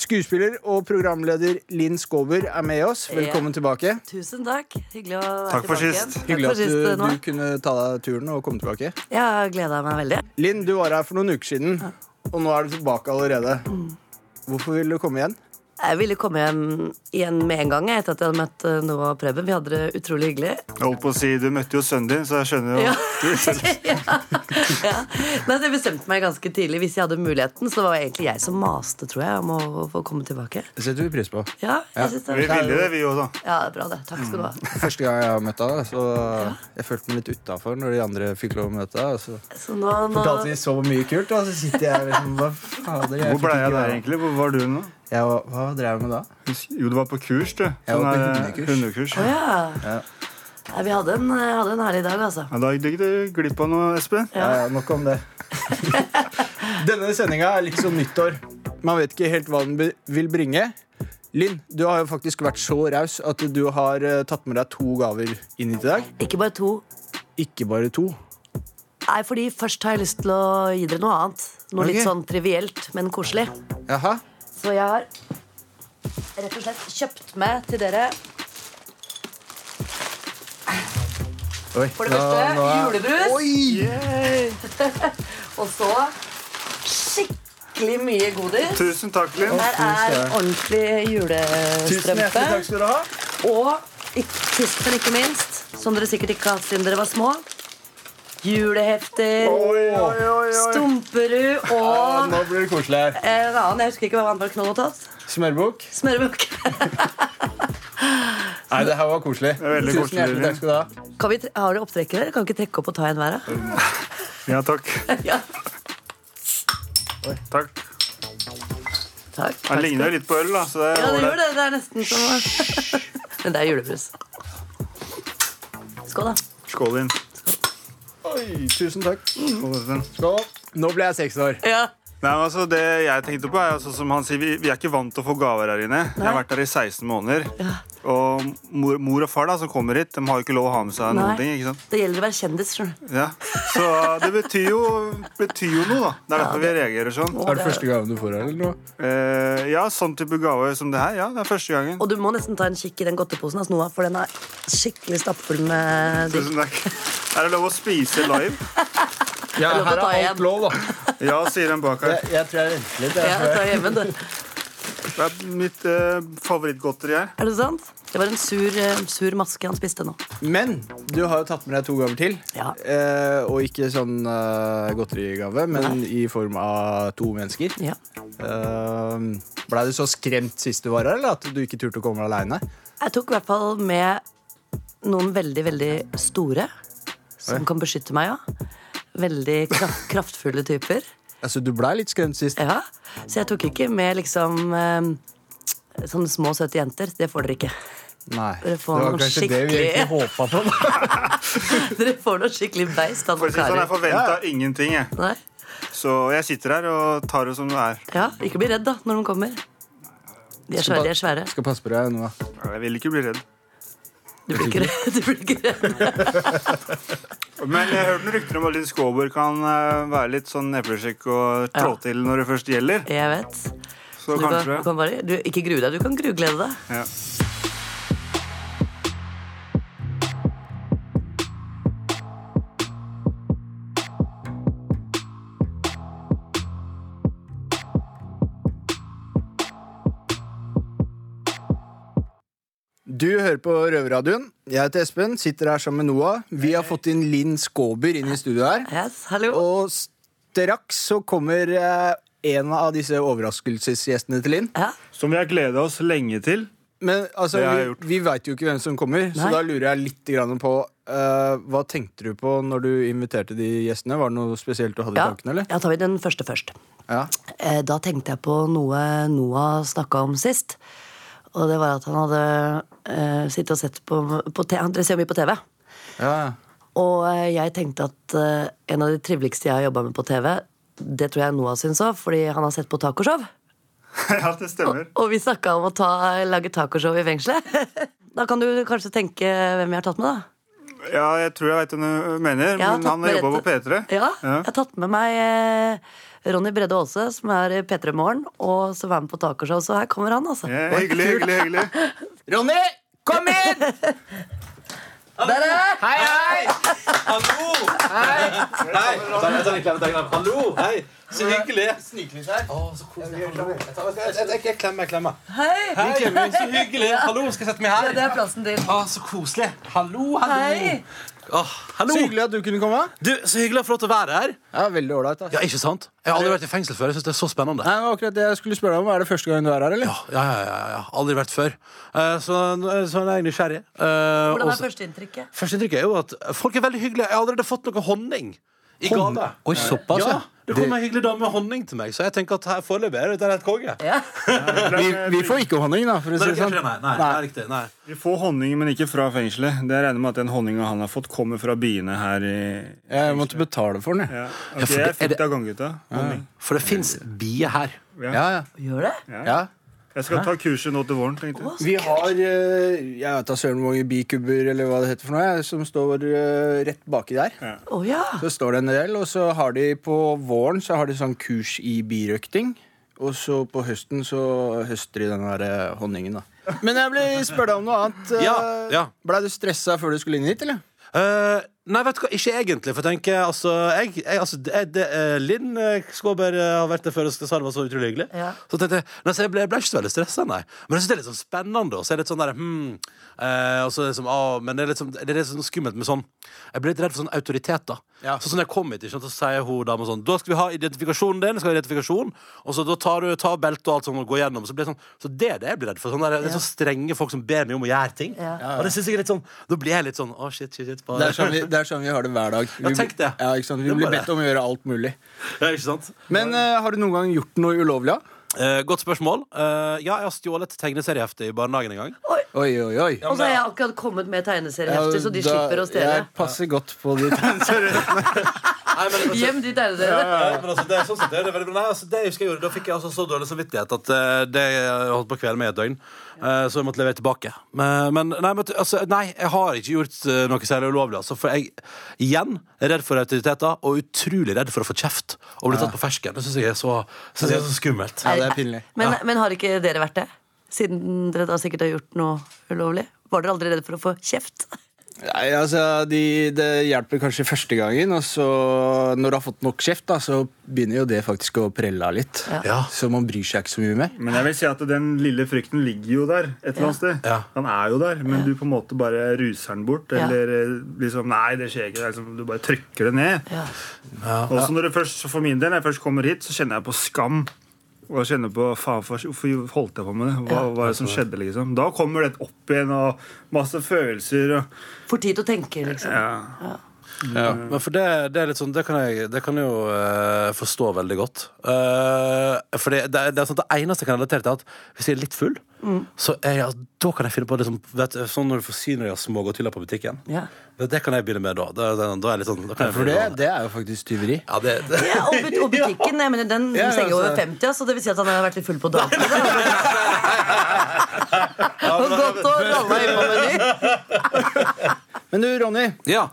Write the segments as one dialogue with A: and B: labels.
A: Skuespiller og programleder Linn Skåber er med oss. Velkommen tilbake.
B: Tusen takk. Hyggelig å være
C: Takk for
B: tilbake
C: sist.
B: igjen. Takk
A: Hyggelig
B: for
A: at
B: sist,
A: du,
B: Noah.
A: du kunne ta deg turen og komme tilbake.
B: Jeg har gleda meg veldig.
A: Linn, du var her for noen uker siden, og nå er du tilbake allerede. Hvorfor vil du komme igjen?
B: Jeg ville komme hjem igjen med en gang jeg, etter at jeg hadde møtt eh, Noah og Preben. Vi hadde det utrolig hyggelig.
C: Jeg holdt på å si, Du møtte jo sønnen din, så jeg skjønner jo
B: Ja. Ja. Nei, det bestemte meg ganske tidlig. Hvis jeg hadde muligheten, så var det egentlig jeg som maste, tror jeg, om å få komme tilbake.
D: Det setter vi pris på.
B: Ja, jeg synes
C: Vi
B: det.
C: ville det, vi òg, da.
B: Ja, det er bra det. Takk skal du
A: Mm.
B: ha.
D: Første gang jeg har møtt deg, så jeg følte meg litt utafor når de andre fikk lov å møte deg. og Så.
B: Så nå, nå
A: Fortalte vi så mye kult, og så sitter jeg liksom Hva fader? Jeg
C: Hvor ble
A: fikk ikke
C: jeg der,
A: være med.
C: egentlig? Hvor var du nå?
A: Jeg var, hva drev jeg med da?
C: Jo, du var på kurs, du.
D: Jeg var på
C: Sånn der,
D: hundekurs.
C: hundekurs.
B: Å ja. Nei, vi hadde en, hadde en herlig dag, altså.
C: Ja, da gikk du glipp av noe, Espen.
A: Ja, ja, nok om det. Denne sendinga er litt som nyttår. Man vet ikke helt hva den be- vil bringe. Linn, du har jo faktisk vært så raus at du har eh, tatt med deg to gaver inn hit i dag.
B: Ikke bare to.
A: Ikke bare to.
B: Nei, fordi først har jeg lyst til å gi dere noe annet. Noe
A: Ok.
B: litt sånn trivielt, men koselig.
D: Jaha.
B: Så jeg har rett og slett kjøpt med til dere
D: Oi.
B: for det første julebrus, og så skikkelig mye godis.
C: Tusen takk, Linn.
B: Her er ordentlig
A: Tusen
B: julestrømpe.
A: hjertelig takk skal du ha.
B: Og ikke- sist, men ikke minst, som dere sikkert ikke har hatt siden dere var små, julehefter, Stumperud
A: Ja,
B: og
A: nå blir det koselig her.
B: en annen. Jeg husker ikke hva han var knoll og tatt.
A: Smørbukk.
B: Smørebukk.
A: Nei, det her var koselig.
C: er veldig
A: Tusen
C: koselig,
A: hjertelig
C: Linn.
A: takk skal du ha.
B: Kan vi tre- Har dere opptrekker her? Kan vi ikke trekke opp og ta en hver? da?
C: Ja, takk.
B: Ja.
C: Takk.
B: Takk.
C: Han ligner jo litt på øl, da. Så det
B: Ja,
C: er
B: det gjør
C: ålreit.
B: det. Det er nesten som å Men det er julebrus. Skål, da.
C: Skål, Linn.
A: Oi, tusen takk.
C: Skål, Espen.
A: Skål. Nå ble jeg seks år.
B: Ja.
C: Nei, men altså Det jeg tenkte på, er altså, som han sier, vi, vi er ikke vant til å få gaver her inne. Jeg har vært her i 16 måneder. Og mor, mor og far da, som kommer hit, de har jo ikke lov å ha med seg
B: Nei.
C: noen ting. ikke sant?
B: Det gjelder å være kjendis, skjønner du.
C: Ja. Så det betyr jo, betyr jo noe, da. Det er derfor vi reagerer sånn.
D: Er det første gangen du får her, eller noe?
C: Eh, ja, sånn type gave som det her. Ja, det er første gangen.
B: Og du må nesten ta en kikk i den godteposen hans, Noah, for den er skikkelig stappfull med dritt.
C: Tusen takk. Er det lov å spise live?
A: Ja,
B: lov å
A: her
B: ta
A: er
B: igjen.
A: alt lov, da.
C: Ja, sier den bak her.
A: Jeg, jeg tror jeg venter litt.
B: Ja,
A: Jeg.
B: ta hjemme, du.
C: Det er mitt eh, favorittgodteri her.
B: Er det sant? Det var en sur, eh, sur maske han spiste nå.
A: Men du har jo tatt med deg to gaver til.
B: Ja.
A: Eh, og ikke sånn eh, godterigave, men i form av to mennesker.
B: Ja.
A: Eh, Blei du så skremt sist du var her, eller at du ikke turte å komme aleine?
B: Jeg tok i hvert fall med noen veldig, veldig store som
A: Oi.
B: kan beskytte meg, ja. Veldig kraft, kraftfulle typer.
A: Altså, du blei litt skremt sist.
B: Ja, Så jeg tok ikke med liksom eh, sånne små, søte jenter. Det får dere ikke.
A: Nei.
B: Dere
A: Det
B: får
A: var
B: noe
A: kanskje det vi
B: skikkelig-
A: egentlig håpa på. da.
B: Dere får noe skikkelig beist av
C: For å si det
B: noen
C: sånn, Jeg
B: karer.
C: forventa ingenting, jeg.
B: Nei,
C: Så jeg sitter her og tar det som det er.
B: ja, Ikke bli redd, da, når de kommer. De er svære. De er svære.
A: Skal passe på deg nå.
C: Jeg vil ikke bli redd.
B: Du blir ikke redd. Du blir ikke redd.
C: Men jeg hørte noen rykter om at Linn Skåber kan eh, være litt sånn neplesjekk og trå
B: Ja.
C: til når det først gjelder.
B: Jeg vet.
C: Så
B: Du kan, du
C: kanskje
B: kan bare, du, ikke grue deg, du kan gruglede deg.
C: ja.
A: Du hører på Røverradioen. Jeg heter Espen, sitter her sammen med Noah. Vi har fått inn Linn Skåber inn i studio her.
B: Yes, hallo.
A: Og straks så kommer eh, en av disse overraskelsesgjestene til Linn.
B: Ja,
C: Som vi har gleda oss lenge til.
A: Men altså,
C: Det har jeg
A: vi, vi veit jo ikke hvem som kommer, så
B: Nei.
A: da lurer jeg litt grann på eh, Hva tenkte du på når du inviterte de gjestene? Var det noe spesielt du hadde i
B: ja.
A: tankene, eller?
B: ja tar vi den første først.
A: Ja.
B: Eh, Da tenkte jeg på noe Noah snakka om sist. Og det var at han hadde eh, sittet og sett på, på te, Han ser jo mye på TV.
A: Ja,
B: Og eh, jeg tenkte at eh, en av de triveligste jeg har jobba med på TV, det tror jeg Noah syns òg, fordi han har sett på tacoshow.
C: ja, det stemmer.
B: Og vi snakka om å ta, lage tacoshow i fengselet. da kan du kanskje tenke hvem jeg har tatt med, da.
C: Ja, jeg tror jeg veit hvem du mener,
B: Jeg har
C: men
B: tatt
C: han
B: med
C: jobber på
B: dette-
C: P3.
B: Ja,
C: Ja.
B: Jeg har tatt med meg eh, Ronny Brede Aase, som er i P3 Morgen, og som var med på tacoshow, så her kommer han, altså.
C: Ja, hyggelig, hyggelig, hyggelig.
E: Ronny, kom inn!
B: Der er han!
E: Hei, hei!
F: Hallo! Hei! Hei! Ta- ta en klem, ta en klem. Hallo! Hei! Så hyggelig. Sniklys her. Å, så koselig. Hallo. Jeg tar- jeg- jeg- jeg- Jeg klemmer, jeg klemmer.
B: Hei!
F: Hei, så hyggelig. Hallo, skal jeg sette meg
B: Det
F: her?
B: er plassen din.
F: Å, så koselig. Hallo, hallo.
B: Hei.
F: Å, hallo.
A: Så hyggelig at du kunne komme.
F: Du, så hyggelig å få lov til å være her.
A: Ja, Veldig ålreit. altså.
F: Ja, ikke sant? Jeg har aldri vært i fengsel før. Jeg synes det er så spennende.
A: Nei, det var akkurat det jeg skulle spørre deg om. Er det første gang du er her, eller?
F: Ja, ja, ja, ja, ja. Aldri vært før. Eh, Så, så jeg er egentlig nysgjerrig. Eh,
B: Hvordan
F: og
B: er
F: så-
B: førsteinntrykket?
F: Førsteinntrykket er jo at folk er veldig hyggelige. Jeg har allerede fått noe honning i
A: Honning?
F: gave.
A: Oi, såpass, ja.
F: ja. Det kom en hyggelig dame med honning til meg, så jeg tenker at her foreløpig er dette helt konge.
B: Ja.
A: Vi, vi får ikke honning, da, for å
F: Nei,
A: si det
F: det er
A: sånn.
F: ikke det, nei, nei, det er riktig, nei.
C: Vi får honning, men ikke fra fengselet. Det regner med at den honninga han har fått, kommer fra biene her i
A: Jeg måtte betale for den, jeg.
C: ja.
F: Ja,
C: Ok, Jeg
F: for det- er
C: fikk
F: det-
C: det av ganggutta. Honning.
F: For det fins bier her.
A: Ja, ja.
B: Gjør det?
A: ja.
C: Jeg skal ta kurset nå til våren, tenkte jeg.
A: Vi har eh, jeg vet da søren hvor mange bikubber eller hva det heter for noe, jeg, som står eh, rett baki der.
B: Å ja.
A: Så står det en del, og så har de på våren så har de sånn kurs i birøkting. Og så på høsten så høster de den der eh, honningen, da. Men jeg ble spørre deg om noe annet. Eh,
F: Ja, ja.
A: Blei du stressa før du skulle inn hit, eller?
F: Eh, nei, vet du hva, ikke egentlig. For jeg tenker, altså, jeg, jeg, altså det, det, eh, Linn eh, Skåber eh, har vært der før og sa det var så utrolig hyggelig.
B: Ja.
F: Så tenkte jeg, nei, så jeg ble, jeg ble ikke så veldig stressa, nei. Men jeg synes det er litt sånn spennende. Og så er det litt sånn der, hmm, eh, og så er det liksom, ah, men det er litt, sånn, det er litt sånn skummelt med sånn Jeg blir litt redd for sånn autoritet, da.
A: Ja.
F: Så sånn jeg kom hit, ikke sant, så sier hun dama sånn Da skal vi ha identifikasjonen din, skal ha identifikasjon, og så da tar du tar beltet og alt sånn og går gjennom. Så, blir det sånn, så det er det jeg blir redd for. Sånn der, det er så strenge folk som ber meg om å gjøre ting.
B: Ja. Ja,
F: Og det synes jeg er litt sånn Da blir jeg litt sånn Å, shit, shit, shit.
A: Det er sånn vi, det er sånn vi har det hver dag. Vi,
F: Ja, tenk det.
A: Ja, ikke sant? Vi
F: Det er
A: blir
F: bare-
A: bedt om å gjøre alt mulig.
F: Ja, ikke sant?
A: Men eh, har du noen gang gjort noe ulovlig? da?
F: Eh, godt spørsmål. Eh, ja, jeg har stjålet tegneseriehefte i barnehagen en gang.
B: Oi.
A: Oi, oi, oi.
B: Og så har jeg akkurat kommet med tegneseriehefter, så de
A: Ja, da-
B: slipper å stjele.
A: Jeg passer godt på de
F: Nei, men, altså,
B: Gjem de tegneseriene.
F: Nei, men altså, det er sånn sett, det er veldig bra. Nei, altså, det husker jeg gjorde. Da fikk jeg altså så dårlig samvittighet at eh, det holdt på å kvele meg i et døgn. Eh, så jeg måtte levere tilbake. Men, men, nei, men altså, nei, jeg har ikke gjort eh, noe særlig ulovlig. Altså, for jeg igjen er redd for autoriteter og utrolig redd for å få kjeft og bli tatt på fersken. Det syns jeg er så, synes jeg er så skummelt.
A: Ja, det er pinlig.
B: Men, men har ikke dere vært det? Siden dere da sikkert har gjort noe ulovlig? Var dere aldri redde for å få kjeft?
A: Nei, altså, de, Det hjelper kanskje første gangen, og så når du har fått nok kjeft, da, så begynner jo det faktisk å prelle av litt.
F: Ja.
A: Så man bryr seg ikke så mye mer.
C: Men jeg vil si at den lille frykten ligger jo der et eller annet sted.
F: Ja.
C: Han er jo der, men du på en måte bare ruser den bort.
B: Ja.
C: Eller eh, liksom Nei, det skjer ikke. Det er Liksom, du bare trykker det ned.
B: Ja.
C: Og så når det først, for min del, når jeg først kommer hit, så kjenner jeg på skam. Og jeg kjenner på faen, for- hvorfor holdt jeg på med det? Hva hva er det som skjedde? liksom? Da kommer det opp igjen, og masse følelser. og...
B: For tid til å tenke, liksom.
C: Ja.
F: Men for det, det er litt sånn Det kan jeg, det kan jeg jo eh, forstå veldig godt. Eh, for det, det, er- det er sånn at det eneste jeg kan relatere til, er at hvis jeg er litt full,
A: Mm.
F: så er jeg, da kan jeg finne på liksom, vet, du, Sånn når du får synlige smågodthyller på butikken.
B: Ja.
F: Det, det kan jeg begynne med da. Da, da, da er jeg litt sånn da kan jeg
A: For det,
F: begynne med-
A: det er jo faktisk tyveri.
F: ja, det, det.
B: Ja, og, but og butikken, jeg mener, den
A: Ja, ja,
B: stenger jo
A: altså.
B: over 50, ja, så det vil si at han har vært litt full på dagen. Og gått og ralla inn på meny.
A: Men du, Ronny,
F: Ja.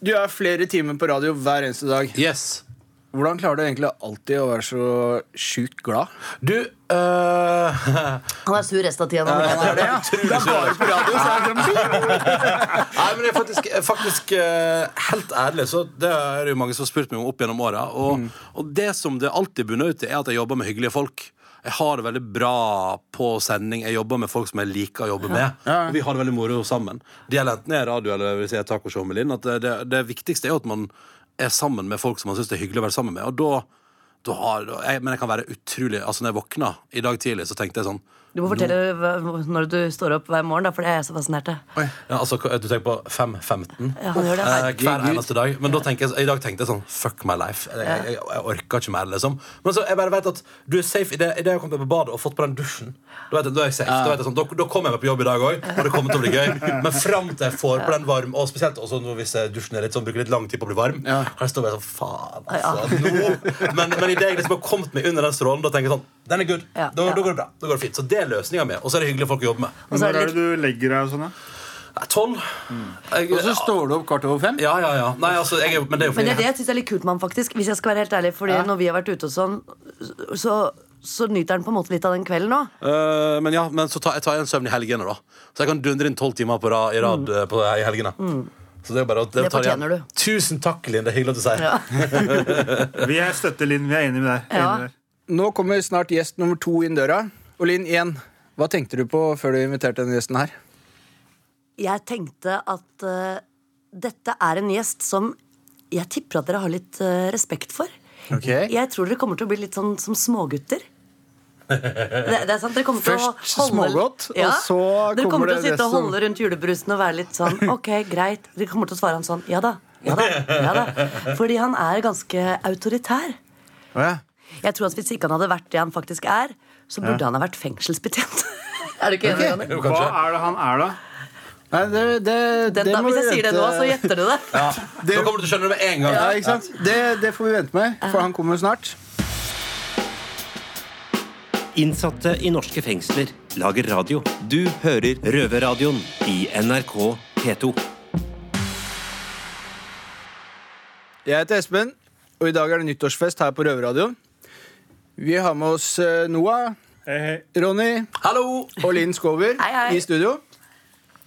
A: du er flere timer på radio hver eneste dag.
F: Yes.
A: Hvordan klarer du egentlig alltid å være så sjukt glad?
F: Du eh,
B: Han er sur resten av tida. nå.
A: Det er bare på radio, så er det sånn
F: Nei, men det er faktisk, faktisk eh, helt ærlig, så det er det jo mange som har spurt meg om opp gjennom åra. Og, og det som det alltid bunner ut i, er at jeg jobber med hyggelige folk. Jeg har det veldig bra på sending. Jeg jobber med folk som jeg liker å jobbe med. Og vi har det veldig moro sammen. Det gjelder enten jeg er radio eller hvis jeg er tacoshow med Linn. At det, det, det viktigste er jo at man er sammen med folk som man syns det er hyggelig å være sammen med. Og da, da har, da- jeg, men jeg kan være utrolig Altså, når jeg våkna i dag tidlig, så tenkte jeg sånn
B: Du må fortelle hva- når du står opp hver morgen, da, for det er jeg så fascinert av.
F: Oi. Ja, altså, du tenker på 5.15
B: Ja, han gjør det.
F: eh, hver eneste dag. Men da tenker jeg, i dag tenkte jeg sånn Fuck my life. Jeg, jeg, jeg, jeg orker ikke mer, liksom. Men så jeg bare vet at du er safe idet jeg har kommet meg på badet og fått på den dusjen. Da, vet jeg, da er jeg safe. Da, vet jeg sånn, da, da kommer jeg meg på jobb i dag òg, og det kommer til å bli gøy. Men fram til jeg får på den varm, og spesielt også nå hvis jeg dusjen er litt sånn, bruker litt lang tid på å bli varm, kan jeg stå bare sånn Faen, altså. Nå. Men, men idet jeg liksom har kommet meg under den strålen, da tenker jeg sånn Den er good.
B: Ja,
F: Da,
B: ja.
F: da går det bra. Da går det fint. Så det er løsninga mi. Og så er det hyggelige folk å jobbe med.
B: Og så er
C: Når
B: det
C: er det du legger deg og sånn, da?
F: Nei, Tolv. Jeg-
A: Og så står du opp kvart over fem.
F: Ja, ja, ja. Nei, altså, jeg, er jo- men det er jo
B: Men det
F: fordi
B: er det jeg synes er litt kult med han, faktisk. Hvis jeg skal være helt ærlig, fordi når vi har vært ute og sånn, så, så nyter han på en måte litt av den kvelden òg.
F: Øh, men ja, men så tar jeg tar jeg en søvn i helgene, da. Så jeg kan dundre inn tolv timer på rad, i rad øh, på, i helgene. Så det er bare å
B: Mm. Det
F: tar jeg
B: fortjener du.
F: Tusen takk, Linn. Det er hyggelig at du sier
B: Ja.
C: Vi er støtter Linn. Vi er enige med deg.
B: Ja.
C: Enige med deg.
A: Nå kommer snart gjest nummer to inn døra. Og Linn, igjen, hva tenkte du på før du inviterte denne gjesten her?
B: Jeg tenkte at eh, dette er en gjest som jeg tipper at dere har litt eh, respekt for.
A: Ok.
B: Jeg tror dere kommer til å bli litt sånn som smågutter. Det, det er sant, dere kommer til
A: Først
B: å holde,
A: smågodt, og så kommer
B: Dere kommer til å
A: det
B: sitte og
A: resten.
B: holde rundt julebrusen og være litt sånn Ok, greit. Dere kommer til å svare han sånn Ja da. Ja da. Ja da. Fordi han er ganske autoritær. Jeg tror at Hvis ikke han hadde vært det han faktisk er, så burde han ha vært fengselsbetjent. er du ikke enig? Ronny?
F: Jo,
C: Hva
F: kanskje.
C: er det han er, da?
A: Nei, det, det,
B: Den,
A: det
B: da,
A: må vi
B: hvis jeg sier det nå,
A: vente-
B: så gjetter du det.
F: Ja. Da kommer du til å skjønne det med en gang.
A: ja, ikke sant? Det, det får vi vente med, for han kommer snart.
G: Innsatte i norske fengsler lager radio. Du hører Røverradioen i NRK P2.
A: Jeg heter Espen, og i dag er det nyttårsfest her på Røverradioen. Vi har med oss eh, Noah,
C: Hei, hei.
A: Ronny
F: Hallo!
A: og Linn Skåber
B: Hei, hei.
A: i studio.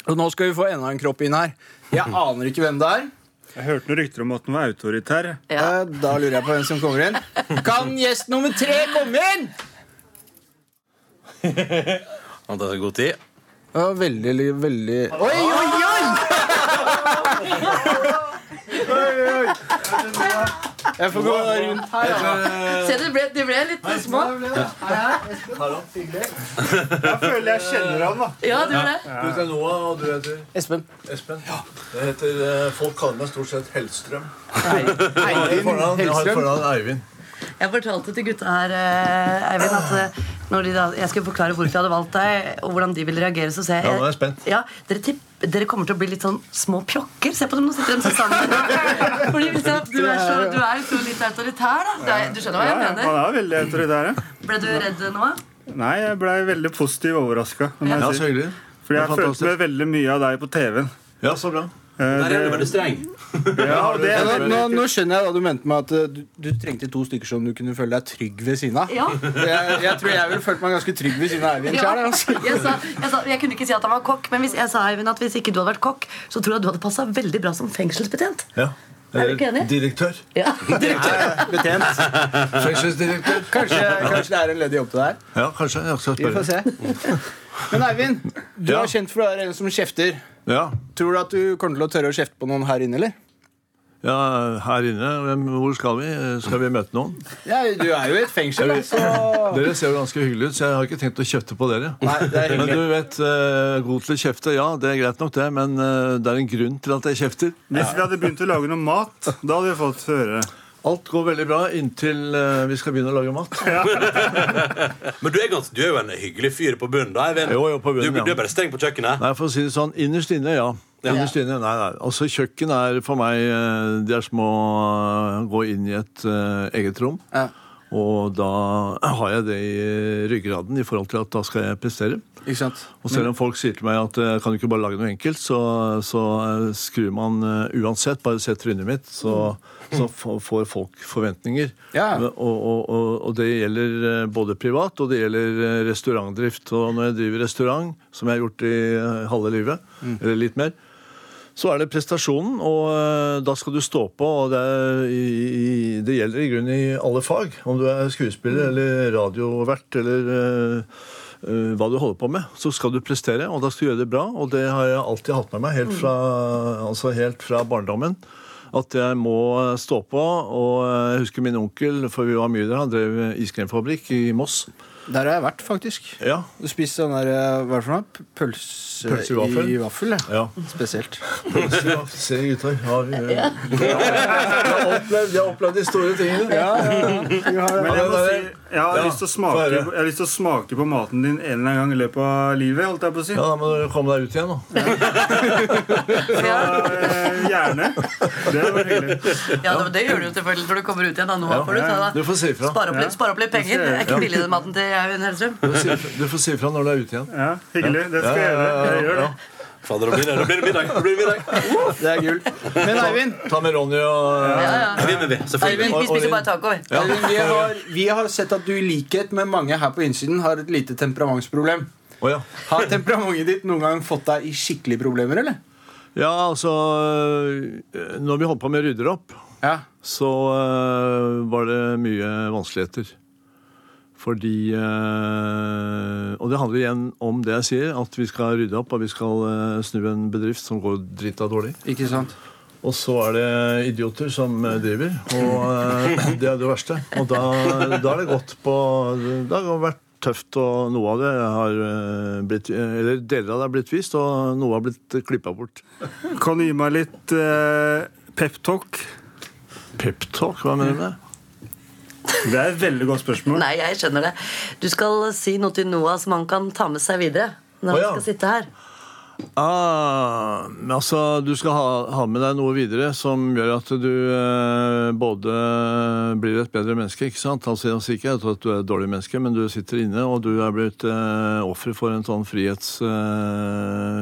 A: Og nå skal vi få enda en kropp inn her. Jeg aner ikke hvem det er.
C: Jeg hørte noen rykter om at han var autoritær.
B: Ja.
A: Eh, Da lurer jeg på hvem som kommer inn. Kan gjest nummer tre komme inn?
F: Han tar seg god tid.
A: Det var veldig, veldig Oi, oi, oi! Jeg får gå rundt her.
B: Se, du ble, du ble litt små.
C: Jeg føler jeg kjenner han, da.
B: Ja, du ble.
H: Du heter Noah, og du heter
A: Espen.
H: Espen. Jeg heter, eh, folk kaller meg stort sett Hellstrøm. Jeg har et fornavn- Jeg har et
A: Hellstrøm.
H: fornavn Eivind.
B: Jeg fortalte til gutta her eh, Eivind, at eh, når de da, jeg skulle forklare hvorfor jeg hadde valgt deg, og hvordan de ville reagere, så ser jeg
H: Ja, nå er jeg spent.
B: Ja, dere, tipp- dere kommer til å bli litt sånn små pjokker. Se på dem, nå sitter de så sammen. Fordi liksom, du er så, du er så litt autoritær, da. Det er- Du skjønner hva jeg
C: Ja, ja,
B: mener?
C: han er veldig autoritær. ja.
B: Ble du redd nå?
C: Nei, jeg ble veldig positivt overraska.
H: Ja, så hyggelig.
C: Fordi jeg
H: Det er
C: følte
H: fantastisk.
C: meg veldig mye av deg på TV-en.
H: Ja, så bra.
F: Der er du veldig streng.
C: Ja, og det,
A: Nå, nå, nå skjønner jeg hva du mente med at eh, du, du trengte to stykker som du kunne føle deg trygg ved siden av.
B: Ja.
A: Jeg, jeg tror jeg ville følt meg ganske trygg ved siden av Eivind
B: Ja.
A: sjøl. Altså.
B: Jeg, sa, jeg, sa, jeg kunne ikke si at han var kokk, men hvis, jeg sa Eivind at hvis ikke du hadde vært kokk, så tror jeg du hadde passa veldig bra som fengselsbetjent.
H: Ja. Eh,
B: Er du ikke enig?
H: Direktør.
B: Ja.
A: Betjent.
H: Fengselsdirektør.
A: Kanskje, kanskje det er en ledig jobb til deg.
H: Ja, kanskje. Jeg skal
A: Vi får
H: spørre.
A: se. Men Eivind, du
H: Ja.
A: er kjent for å være en som kjefter.
H: Ja.
A: Tror du at du kommer til å tørre å kjefte på noen her inne, eller?
H: ja, her inne. Hvem, hvor skal vi? Skal vi møte noen?
A: Ja, du er jo i et fengsel, da, så
H: Dere ser jo ganske hyggelige ut, så jeg har ikke tenkt å kjefte på dere.
A: Nei, det er
H: Men
A: hyggelig.
H: du vet, eh, god til å kjefte, ja, det er greit nok det, men eh, det er en grunn til at jeg kjefter.
C: hvis vi hadde begynt å lage noe mat, da hadde vi fått høre det.
H: Alt går veldig bra inntil eh, vi skal begynne å lage mat.
F: Men du er, ganske, du er jo en hyggelig fyr på bunnen. da, Eivind.
H: Jo, jo, på bunnen,
F: du,
H: ja.
F: du er bare streng på kjøkkenet.
H: Nei, for å si det sånn, innerst inne, ja. Innerst inne, nei, nei. Altså, kjøkken er for meg eh, Det er som å eh, gå inn i et eh, eget rom.
A: Ja.
H: Og da har jeg det i ryggraden i forhold til at da skal jeg prestere.
A: Ikke sant?
H: Og selv om folk sier til meg at eh, kan du ikke bare lage noe enkelt, så, så eh, skrur man eh, uansett, bare sett trynet mitt, så, så f- får folk forventninger.
A: Ja.
H: Men- Og, og, og, og det gjelder eh, både privat, og det gjelder eh, restaurantdrift. Og når jeg driver restaurant, som jeg har gjort i eh, halve livet, eller litt mer, så er det prestasjonen, og eh, da skal du stå på. og Det, er, i, i, det gjelder i grunnen i alle fag. Om du er skuespiller eller radiovert eller eh, eh, hva du holder på med, så skal du prestere, og da skal du gjøre det bra. Og det har jeg alltid hatt med meg, helt fra, altså helt fra barndommen. At jeg må eh, stå på. Og jeg husker min onkel, for vi var mye der, han drev iskremfabrikk i Moss.
A: Der har jeg vært, faktisk.
H: Ja.
A: Du spiste den der eh, hva er det for noe? Pølse,
H: Pølse i vaffel.
A: i vaffel. Ja.
H: ja.
A: Spesielt.
H: Se, gutter. Har, eh, Jeg har opplevd, jeg har opplevd de store tingene.
C: Men jeg må si, jeg har,
H: Ja,
C: lyst til å smake,
H: få høre.
C: jeg har lyst til å smake på maten din en eller annen gang i løpet av livet. holdt jeg på å si.
H: Ja, Da må du komme deg ut igjen, da.
C: Eh, Gjerne. Det var hyggelig.
B: Ja, det, det gjør du jo selvfølgelig når du kommer ut igjen. Da. Nå får du ta
H: Du
B: deg
H: får si ifra.
B: Spare opp, litt, spare opp litt penger. Det er ikke billig, den maten til Eivind Hellstrøm.
H: Du får si ifra- Du får si ifra når du er ute igjen.
C: Ja, hyggelig. Det skal jeg gjøre. Jeg gjør det.
F: Fader, da blir det- da blir det middag. Da blir det middag.
A: Det er gull. Men Eivind,
H: Ta med Ronny og eh,
B: Ja, ja.
F: Vinner vi, selvfølgelig.
B: Eivind, vi spiser bare taco. vi.
A: Eivind vi, har, vi har sett at du i likhet med mange her på innsiden har et lite temperamentsproblem.
H: Å ja.
A: Har temperamentet ditt noen gang fått deg i skikkelige problemer, eller?
H: ja, altså eh, Når vi holdt på med å rydde opp,
A: Ja.
H: så eh, var det mye vanskeligheter. Fordi eh, Og det handler igjen om det jeg sier, at vi skal rydde opp og vi skal eh, snu en bedrift som går drita dårlig.
A: Ikke sant?
H: Og så er det idioter som eh, driver, og eh, det er det verste. Og da, da er det gått på Det har vært tøft, og noe av det har eh, blitt Eller deler av det har blitt vist, og noe har blitt klippa bort.
C: Kan du gi meg litt eh, peptalk?
H: Peptalk, hva mener du med det?
C: Det er et veldig godt spørsmål.
B: Nei, jeg skjønner det. Du skal si noe til Noah som han kan ta med seg videre. Når
H: Å,
B: han
H: ja.
B: skal sitte her
H: Ah, men altså, du skal ha, ha med deg noe videre som gjør at du eh, både blir et bedre menneske, ikke sant? Altså, altså ikke at du er et dårlig menneske, men du sitter inne, og du er blitt eh, offer for en sånn eh,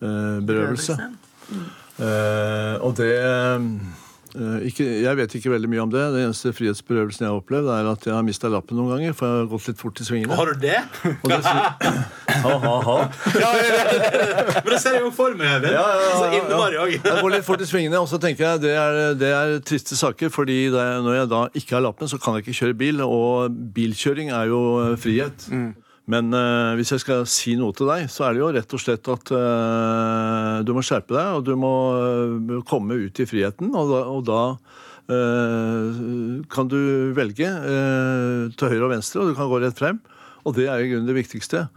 H: frihetsberøvelse.
B: Berøvelse.
H: Eh, og det eh, ikke, Jeg vet ikke veldig mye om det. Den eneste frihetsberøvelsen jeg har opplevd, er at jeg har mista lappen noen ganger, for jeg har gått litt fort i svingene.
F: Har du det?
H: Og det, sy- ha, ha, ha.
F: Men det ser jeg jo for meg, Eivind.
H: Ja, ja, ja,
F: Så
H: ja, ja.
F: innmari òg.
H: Jeg går litt fort i svingene, og så tenker jeg det er, det er triste saker, fordi det, når jeg da ikke har lappen, så kan jeg ikke kjøre bil, og bilkjøring er jo eh, frihet. Men eh, hvis jeg skal si noe til deg, så er det jo rett og slett at eh, du må skjerpe deg, og du må eh, komme ut i friheten, og da, og da eh, kan du velge eh, til høyre og venstre, og du kan gå rett frem. Og det er jo i grunnen det viktigste.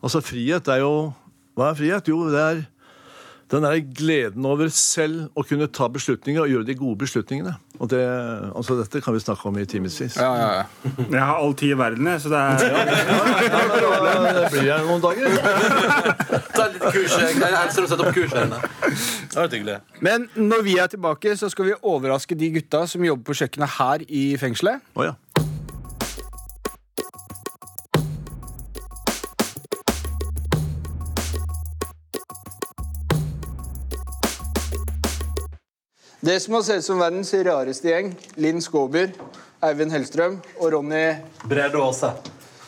H: Altså, frihet er jo Hva er frihet? Jo, det er den er gleden over selv å kunne ta beslutninger og gjøre de gode beslutningene. Og det, altså dette kan vi snakke om i timevis. Ja,
C: Jeg har all tid i verden, jeg, så det er
H: det blir jeg noen dager.
F: Ta litt kurs. eh, Jeg jeg elsker å sette opp kurs her inne. Det har vært hyggelig.
A: Men når vi er tilbake, så skal vi overraske de gutta som jobber på kjøkkenet her i fengselet.
H: Å ja.
A: Det som har sett ut som verdens rareste gjeng, Linn Skåber, Eivind Hellstrøm og Ronny
F: Brede Aase.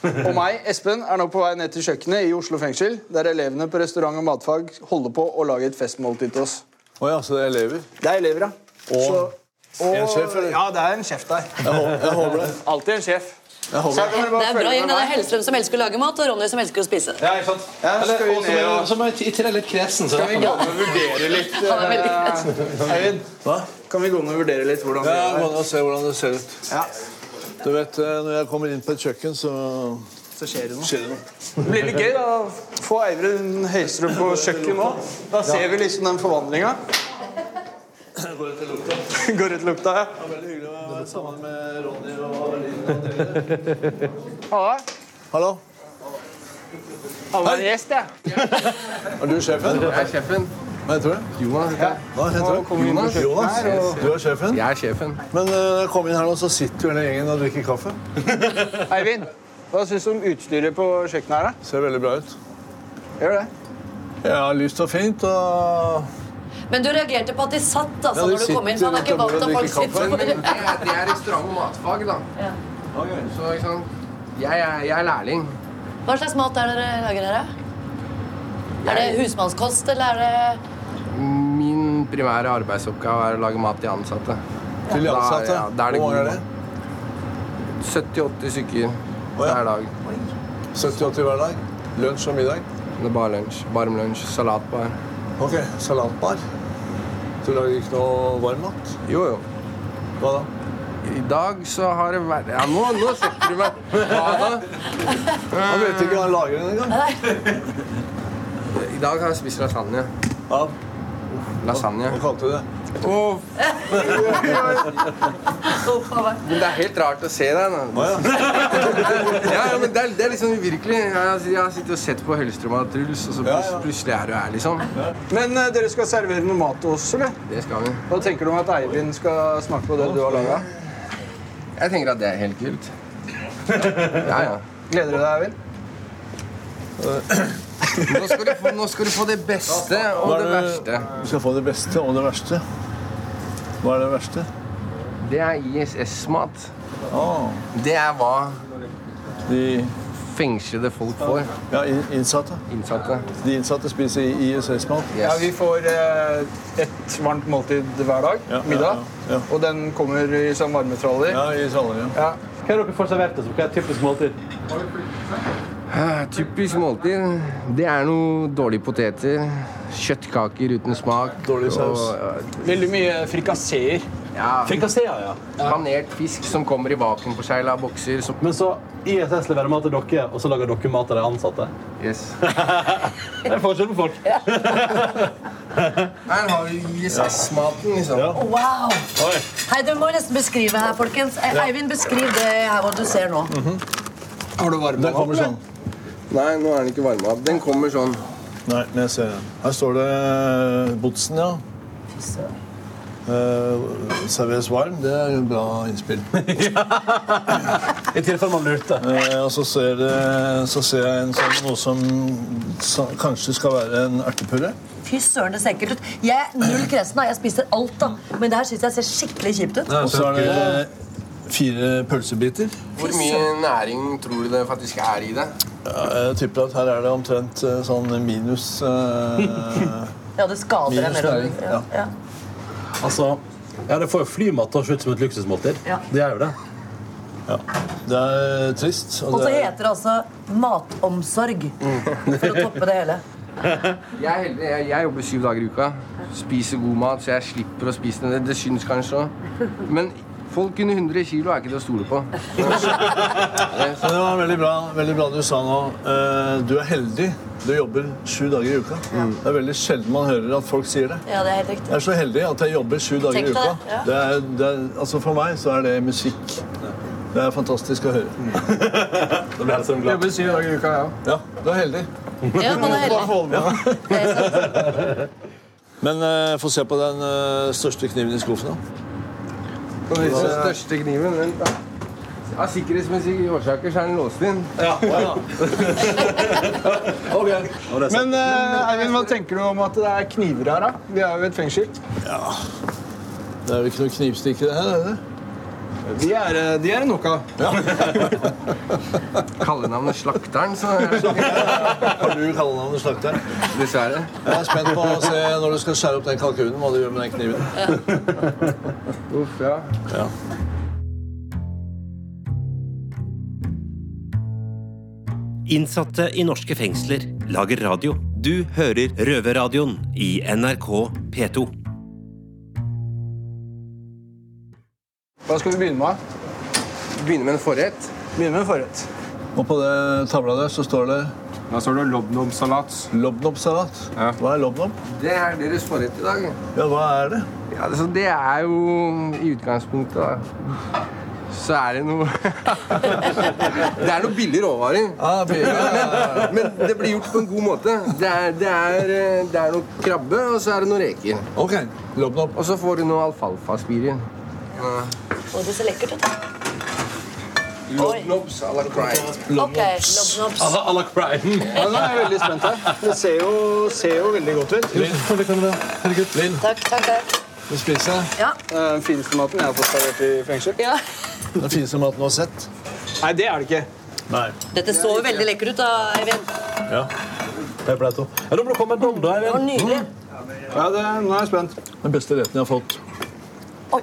A: og meg, Espen, er nå på vei ned til kjøkkenet i Oslo fengsel, der elevene på restaurant og matfag holder på å lage et festmåltid til oss.
H: Å ja, så det er elever.
A: Det er elever, ja.
H: Og
A: Og-
H: en sjef, eller?
A: Ja, det er en sjef der.
H: Jeg håper det.
A: Alltid en sjef.
H: Jeg håper det.
B: Det er bra gjeng. Det er Hellstrøm som elsker å lage mat, og Ronny som elsker å spise.
A: Ja, ikke sant? Ja, skal vi ned og
F: Som er i tillegg litt kresen.
A: Kan vi gå ned og vurdere litt
B: Han er veldig
A: eh,
B: kred.
A: Eivind,
H: Hva?
A: kan vi gå ned og vurdere litt hvordan det
H: Ja,
A: er?
H: gå ned og se hvordan det ser ut.
A: Ja,
H: Du vet, eh, Når jeg kommer inn på et kjøkken, så
A: så skjer det noe.
H: skjer det noe.
A: Det blir litt gøy da, å få Eivind Høystrøm på kjøkken nå. Da ser vi liksom den forvandlinga.
H: Går etter lukta.
A: Går ut lukta, ja.
H: Det er veldig hyggelig å være sammen med Ronny og Linn og dere.
A: Halla.
H: Hallo.
A: Alle er gjest, jeg.
H: Er du sjefen?
I: Jeg er sjefen.
H: Hva heter du?
I: Jonas heter jeg.
H: Hva heter du?
A: Jonas.
H: Jonas. Du er sjefen?
I: Jeg er sjefen.
H: Men eh, når jeg kom inn her nå, så sitter jo hele gjengen og drikker kaffe.
A: Eivind, hva syns du om utstyret på kjøkkenet her, da?
H: Ser veldig bra ut.
A: Gjør det?
H: Ja, lyst og fint, og
B: Men du reagerte på at de satt altså,
H: Ja, de
B: når du kom inn.
H: sitter
B: For han er ikke vant
H: rundt et
B: til at folk
H: bord
I: Men,
B: sitter
I: men det, er, det er restaurant- og matfag, da. Så ikke sant? Jeg er, jeg er lærling.
B: Hva slags mat er det dere lager her, da? Er det husmannskost, eller er det
I: Min primære arbeidsoppgave er å lage mat til ansatte.
H: til de
I: Da-
H: ansatte.
I: ja, da er det
H: Hvor mange
I: god
H: er det?
I: 70-80 stykker
H: ja.
I: hver dag.
H: 70-80 hver dag? Lunsj og middag?
I: Det er bare lunsj. Varm lunsj. Salatbar.
H: Ok, salatbar. Du lager ikke noe varm mat?
I: Jo, jo.
H: Hva da?
I: I dag så har det vært Ja, nå, nå setter du meg Ha det.
H: Han vet ikke hva han lager den engang.
I: I dag har jeg spist lasagne.
H: Ja,
I: Lasagne.
H: hva kalte du det?
I: Åh, men det er helt rart å se deg. nå. Ja, ja, men det er, det er liksom uvirkelig. Jeg har jeg har sittet og sett på Hellstrøm og Truls, og så
H: ja.
I: plutselig, plutselig er du her, liksom.
A: Men eh, dere skal servere noe mat til oss, eller?
I: Det skal vi.
A: Hva tenker du om at Eivind skal smake på det du har laga?
I: Jeg tenker at det er helt kult. Ja, ja.
A: Gleder du deg, Eivind?
I: Nå skal du få, nå skal du få det beste og
H: Hva er
I: det verste.
H: Du skal få det beste og det verste. Hva er det verste?
I: Det er ISS-mat.
H: Ah,
I: Det er hva
H: de
I: fengslede folk får.
H: ja, in- innsatte.
I: Innsatte.
H: De innsatte spiser ISS-mat.
A: Ja,
I: Yes.
A: vi får eh, et varmt måltid hver dag.
H: Ja, ja,
A: middag.
H: ja, ja.
A: Og den kommer i sånn varmetraller.
H: Ja, i Salem.
A: Ja.
F: Hva er det dere får servert? Altså? Hva er et typisk måltid?
I: Ah, Typisk måltid. Det er noe dårlige poteter. Kjøttkaker uten smak. Dårlig saus.
F: Veldig mye frikasseer.
I: ja,
F: Frikasseer, ja.
I: Panert fisk som kommer i vakuumforsegla bokser. Som,
F: Men så ISS leverer mat til dere, og så lager dere mat til de ansatte.
I: yes.
F: Det er forskjell på folk.
I: Her har vi ISS-maten, liksom.
B: Wow! Hei, du må nesten beskrive her, folkens. Eh, Eivind, beskriv det her hva du ser nå.
A: Har du varme
H: Der kommer sånn.
I: Nei, nå er den ikke varma opp. Den kommer sånn.
H: Nei, men jeg ser den. Her står det Botsen, ja. Eh, serveres varm. Det er en bra innspill.
F: I tilfelle man lurte.
H: Eh, og så ser, det, så ser jeg en sånn, noe som sa- kanskje skal være en ertepurre.
B: Fy søren, det ser ekkelt ut. Jeg er null kresen. da. Jeg spiser alt, da. Men det her syns jeg ser skikkelig kjipt ut.
H: Og så er det fire pølsebiter.
I: Hvor mye næring tror du det faktisk er i det?
H: Ja, jeg tipper at her er det omtrent eh, sånn minus eh,
B: Ja, det skader deg
H: Minus
B: mer.
H: næring,
B: Ja. Ja.
J: Altså, ja, det får jo flymat til å se ut som et luksusmåltid.
B: Ja.
J: Det er jo det.
H: Ja. Det er trist.
B: Og så
H: det er,
B: heter det altså matomsorg. For å toppe det hele.
I: Jeg, er heldig. jeg, jeg jobber syv dager i uka. Spiser god mat, så jeg slipper å spise den. Det, det syns kanskje òg. Men folk under 100 kilo er ikke til å stole på.
H: Men det var veldig bra, veldig bra du sa nå. Eh, du er heldig. Du jobber sju dager i uka. Det er veldig sjelden man hører at folk sier det.
B: Ja, det er helt riktig.
H: Jeg er så heldig at jeg jobber sju dager
B: Tenk
H: i
B: deg
H: uka.
B: det, ja.
H: Det er, det er, altså for meg så er det musikk. Det er fantastisk å høre.
F: Da blir helsen glad.
A: Jobber syv dager i uka, ja.
H: Ja, du er heldig.
B: Ja, man er heldig. Det er sant.
H: Men eh, få se på den eh, største kniven i skuffen, da.
I: Den største kniven. Den, ja. Av sikkerhetsmessige årsaker så er den låst inn.
A: Men eh, Eivind, hva tenker du om at det er kniver her, da? Vi er jo i et fengsel.
H: Det er jo ikke noe knivstikk i det her, er det?
A: De er, eh, de er nok av.
I: Kallenavnet Slakteren, så er det sånn
H: Har du kallenavnet slakteren?
I: dessverre.
H: Jeg er spent på å se når du skal skjære opp den kalkunen, hva du gjør med den kniven.
I: Uff, ja.
J: Innsatte i norske fengsler lager radio. Du hører Røverradioen i NRK P2.
A: Hva skal vi begynne med?
I: Begynner med en forrett.
A: Begynne med en forrett.
H: Og på det tavla der så står det
K: Da står det lobnobsalat.
H: lobnobsalat. Hva er lobnob?
I: Det er deres forrett i dag.
H: Ja, hva er det?
I: Ja, altså, det er jo i utgangspunktet da. Så er det noe Det er noe billige råvarer.
H: Ah, ja.
I: Men det blir gjort på en god måte. Det er, det er, eh, det er noe krabbe, og så er det noe reker.
H: Ok. Lobnob.
I: Og så får du noe alfalfaspirer.
B: Og det ser lekkert ut.
I: Lobnobs à la crime.
B: Ok, lobnobs.
A: Ja, nå er jeg veldig spent her. Det ser jo, ser jo veldig godt ut. Det
H: Herregud, Linn,
B: Takk, takk, takk.
H: du spiser den.
B: Ja.
A: er Den fineste maten jeg har fått servert i fengsel.
B: ja.
H: Den fineste maten du har sett.
A: Nei, det er det ikke.
H: Nei.
B: Dette så jo veldig lekkert ut, da, Eivind.
H: Ja. Det er plato.
J: Ja, Da må det komme en dom, da.
B: Det var nydelig.
A: Ja, det, nå er jeg spent.
H: Den beste retten jeg har fått.
B: Oi.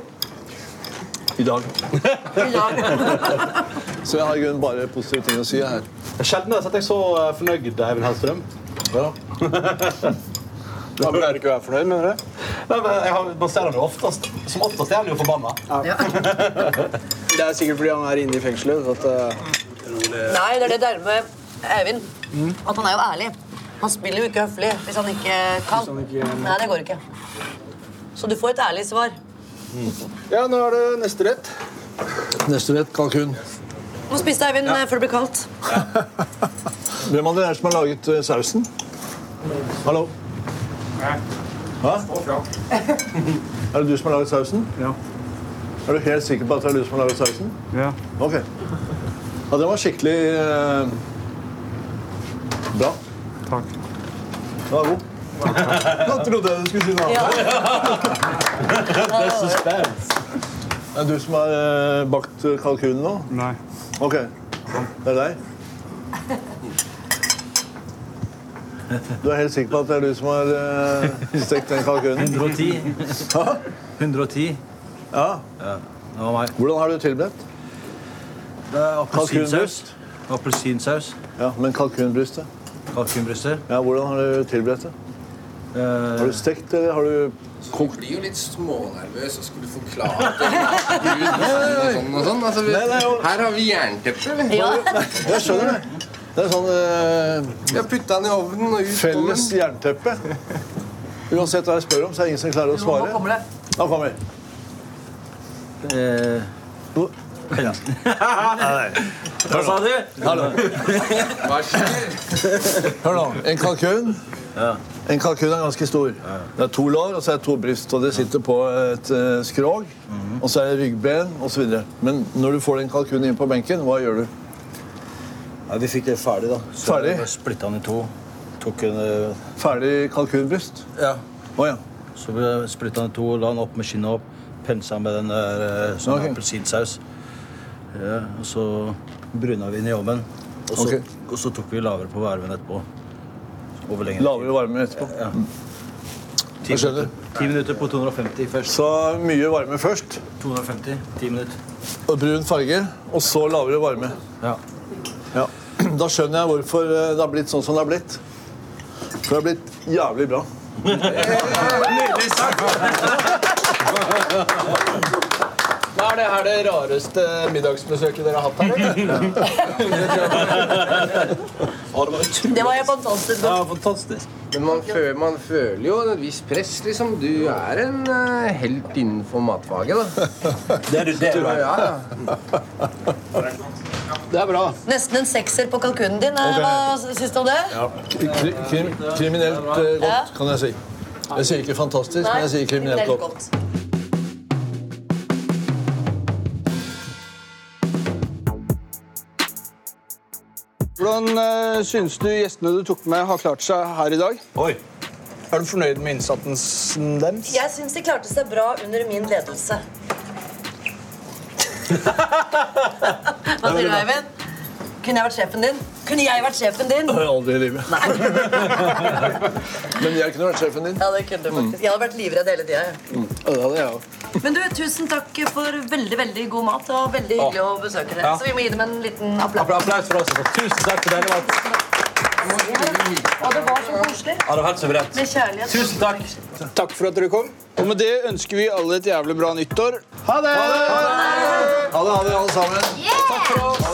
H: I dag.
B: Ja.
H: Så jeg har i grunnen bare positive ting å si her.
F: Sjelden har jeg sett deg så eh, fornøyd, Eivind Hellstrøm.
H: Ja.
A: Da pleier du ikke å være fornøyd, mener du?
F: Nei, men jeg har- man ser han jo oftest. Som oftest er han jo forbanna.
A: Det er sikkert fordi han er inne i fengselet. At, eh,
B: Nei, det er det der med Eivind. At han er jo ærlig. Han spiller jo ikke høflig hvis han ikke kan. Nei, det går ikke. Så du får et ærlig svar.
A: Ja, nå er det neste rett.
H: Neste rett kalkun.
B: Må spise Eivind eh, før det blir kaldt.
H: Hvem av dere er det som har laget eh, sausen? Hallo? Hæ? Er det du som har laget sausen? Ja. Er du helt sikker på at det er du som har laget sausen?
C: Ja.
H: Ok. Ja, den var skikkelig eh, bra. Takk. Den var god. Nå trodde jeg du skulle si noe annet. Det er suspens. Er det du som har eh, bakt kalkunen nå? Nei. Ok. Det er deg? Du er helt sikker på at det er du som har eh, stekt den kalkunen?
J: 110.
H: Hæ?
J: 110.
H: Ja.
J: Ja, det var meg.
H: Hvordan har du tilberedt?
J: Det er Appelsinsaus. Appelsinsaus.
H: Ja, Men kalkunbrystet?
J: Kalkunbryster.
H: Ja, Hvordan har du tilberedt det?
J: Eh,
H: Har du stekt, eller har du kokt?
I: blir jo litt smånervøs og skulle forklare til Gud og sånn og sånn. Altså, vi, her har vi jernteppe, vi.
H: Ja. Jeg skjønner det. Det er sånn eh,
I: Jeg putta den i ovnen og ut på
H: felles jernteppe. Uansett hva jeg spør om, så er det ingen som klarer å svare.
B: nå kommer det.
H: Nå kommer det.
J: Eh,
H: Hva
J: Hva sa du?
H: Hallo.
I: Hva skjer?
H: Hør nå. En kalkun. En kalkun er ganske stor. Det er to lår og så er det to bryst. og Det sitter på et eh, skrog.
J: Mhm.
H: Og så er det ryggben osv. Men når du får den kalkunen inn på benken, hva gjør du?
J: Ja, vi fikk det ferdig, da. Så
H: Ferdig?
J: jeg Splitta den i to. Tok en eh,
H: Ferdig kalkunbryst?
J: Ja.
H: Oh, ja.
J: Så ble- splittet han i to, la han opp med skinnet opp, pensa med den der eh, sånn appelsinsaus. Ja, og så bruna vi den i ovnen. Og så,
H: Ok.
J: og så tok vi lavere på varmen etterpå. Over lengre
H: Lavere varme etterpå? Mm.
J: Ja.
H: Jeg skjønner.
J: Ti minutter på 250 først.
H: Så mye varme først.
J: 250, ti minutter.
H: Og brun farge. Og så lavere varme.
J: Ja.
H: Ja. Da skjønner jeg hvorfor eh, det har blitt sånn som det har blitt. For det har blitt jævlig bra.
A: Nydelig sagt! Da er det her det rareste middagsbesøket dere har hatt her, eller?
B: Det var helt fantastisk godt.
J: fantastisk.
I: Men man føler, man føler jo et visst press, liksom. Du er en eh, helt innenfor matfaget, da.
J: Det er du, det
I: Ja, ja.
A: Det er bra.
B: Nesten en sekser på kalkunen din. eh,
H: Ok.
B: Hva syns du om det?
H: Kri krim kriminelt eh, godt, kan jeg si. Jeg sier ikke fantastisk, men jeg sier kriminelt godt.
A: Hvordan eh, syns du gjestene du tok med, har klart seg her i dag?
J: Oi.
A: Er du fornøyd med innsatsen deres?
B: Jeg syns de klarte seg bra under min ledelse. Hva sier du, Eivind? Kunne jeg vært sjefen din? Kunne jeg vært sjefen din?
H: Aldri i livet. Men jeg kunne vært sjefen din.
B: Ja, det kunne du
J: Mm.
B: faktisk. Jeg hadde vært livredd hele tida. jeg.
H: Mm. Ja, Det hadde jeg òg.
B: Men du, tusen takk for veldig veldig god mat. og Veldig hyggelig å besøke dere.
J: Ja.
B: Så vi må gi dem en liten applaus.
J: Applaus for oss. Tusen takk for denne maten.
B: Og det var så koselig.
J: Ja, det var helt suverent.
B: Med kjærlighet.
J: Tusen takk.
A: Takk for at dere kom. Og med det ønsker vi alle et jævlig bra nyttår. Ha det! Ha det,
H: ha det, alle sammen.
A: Takk for oss.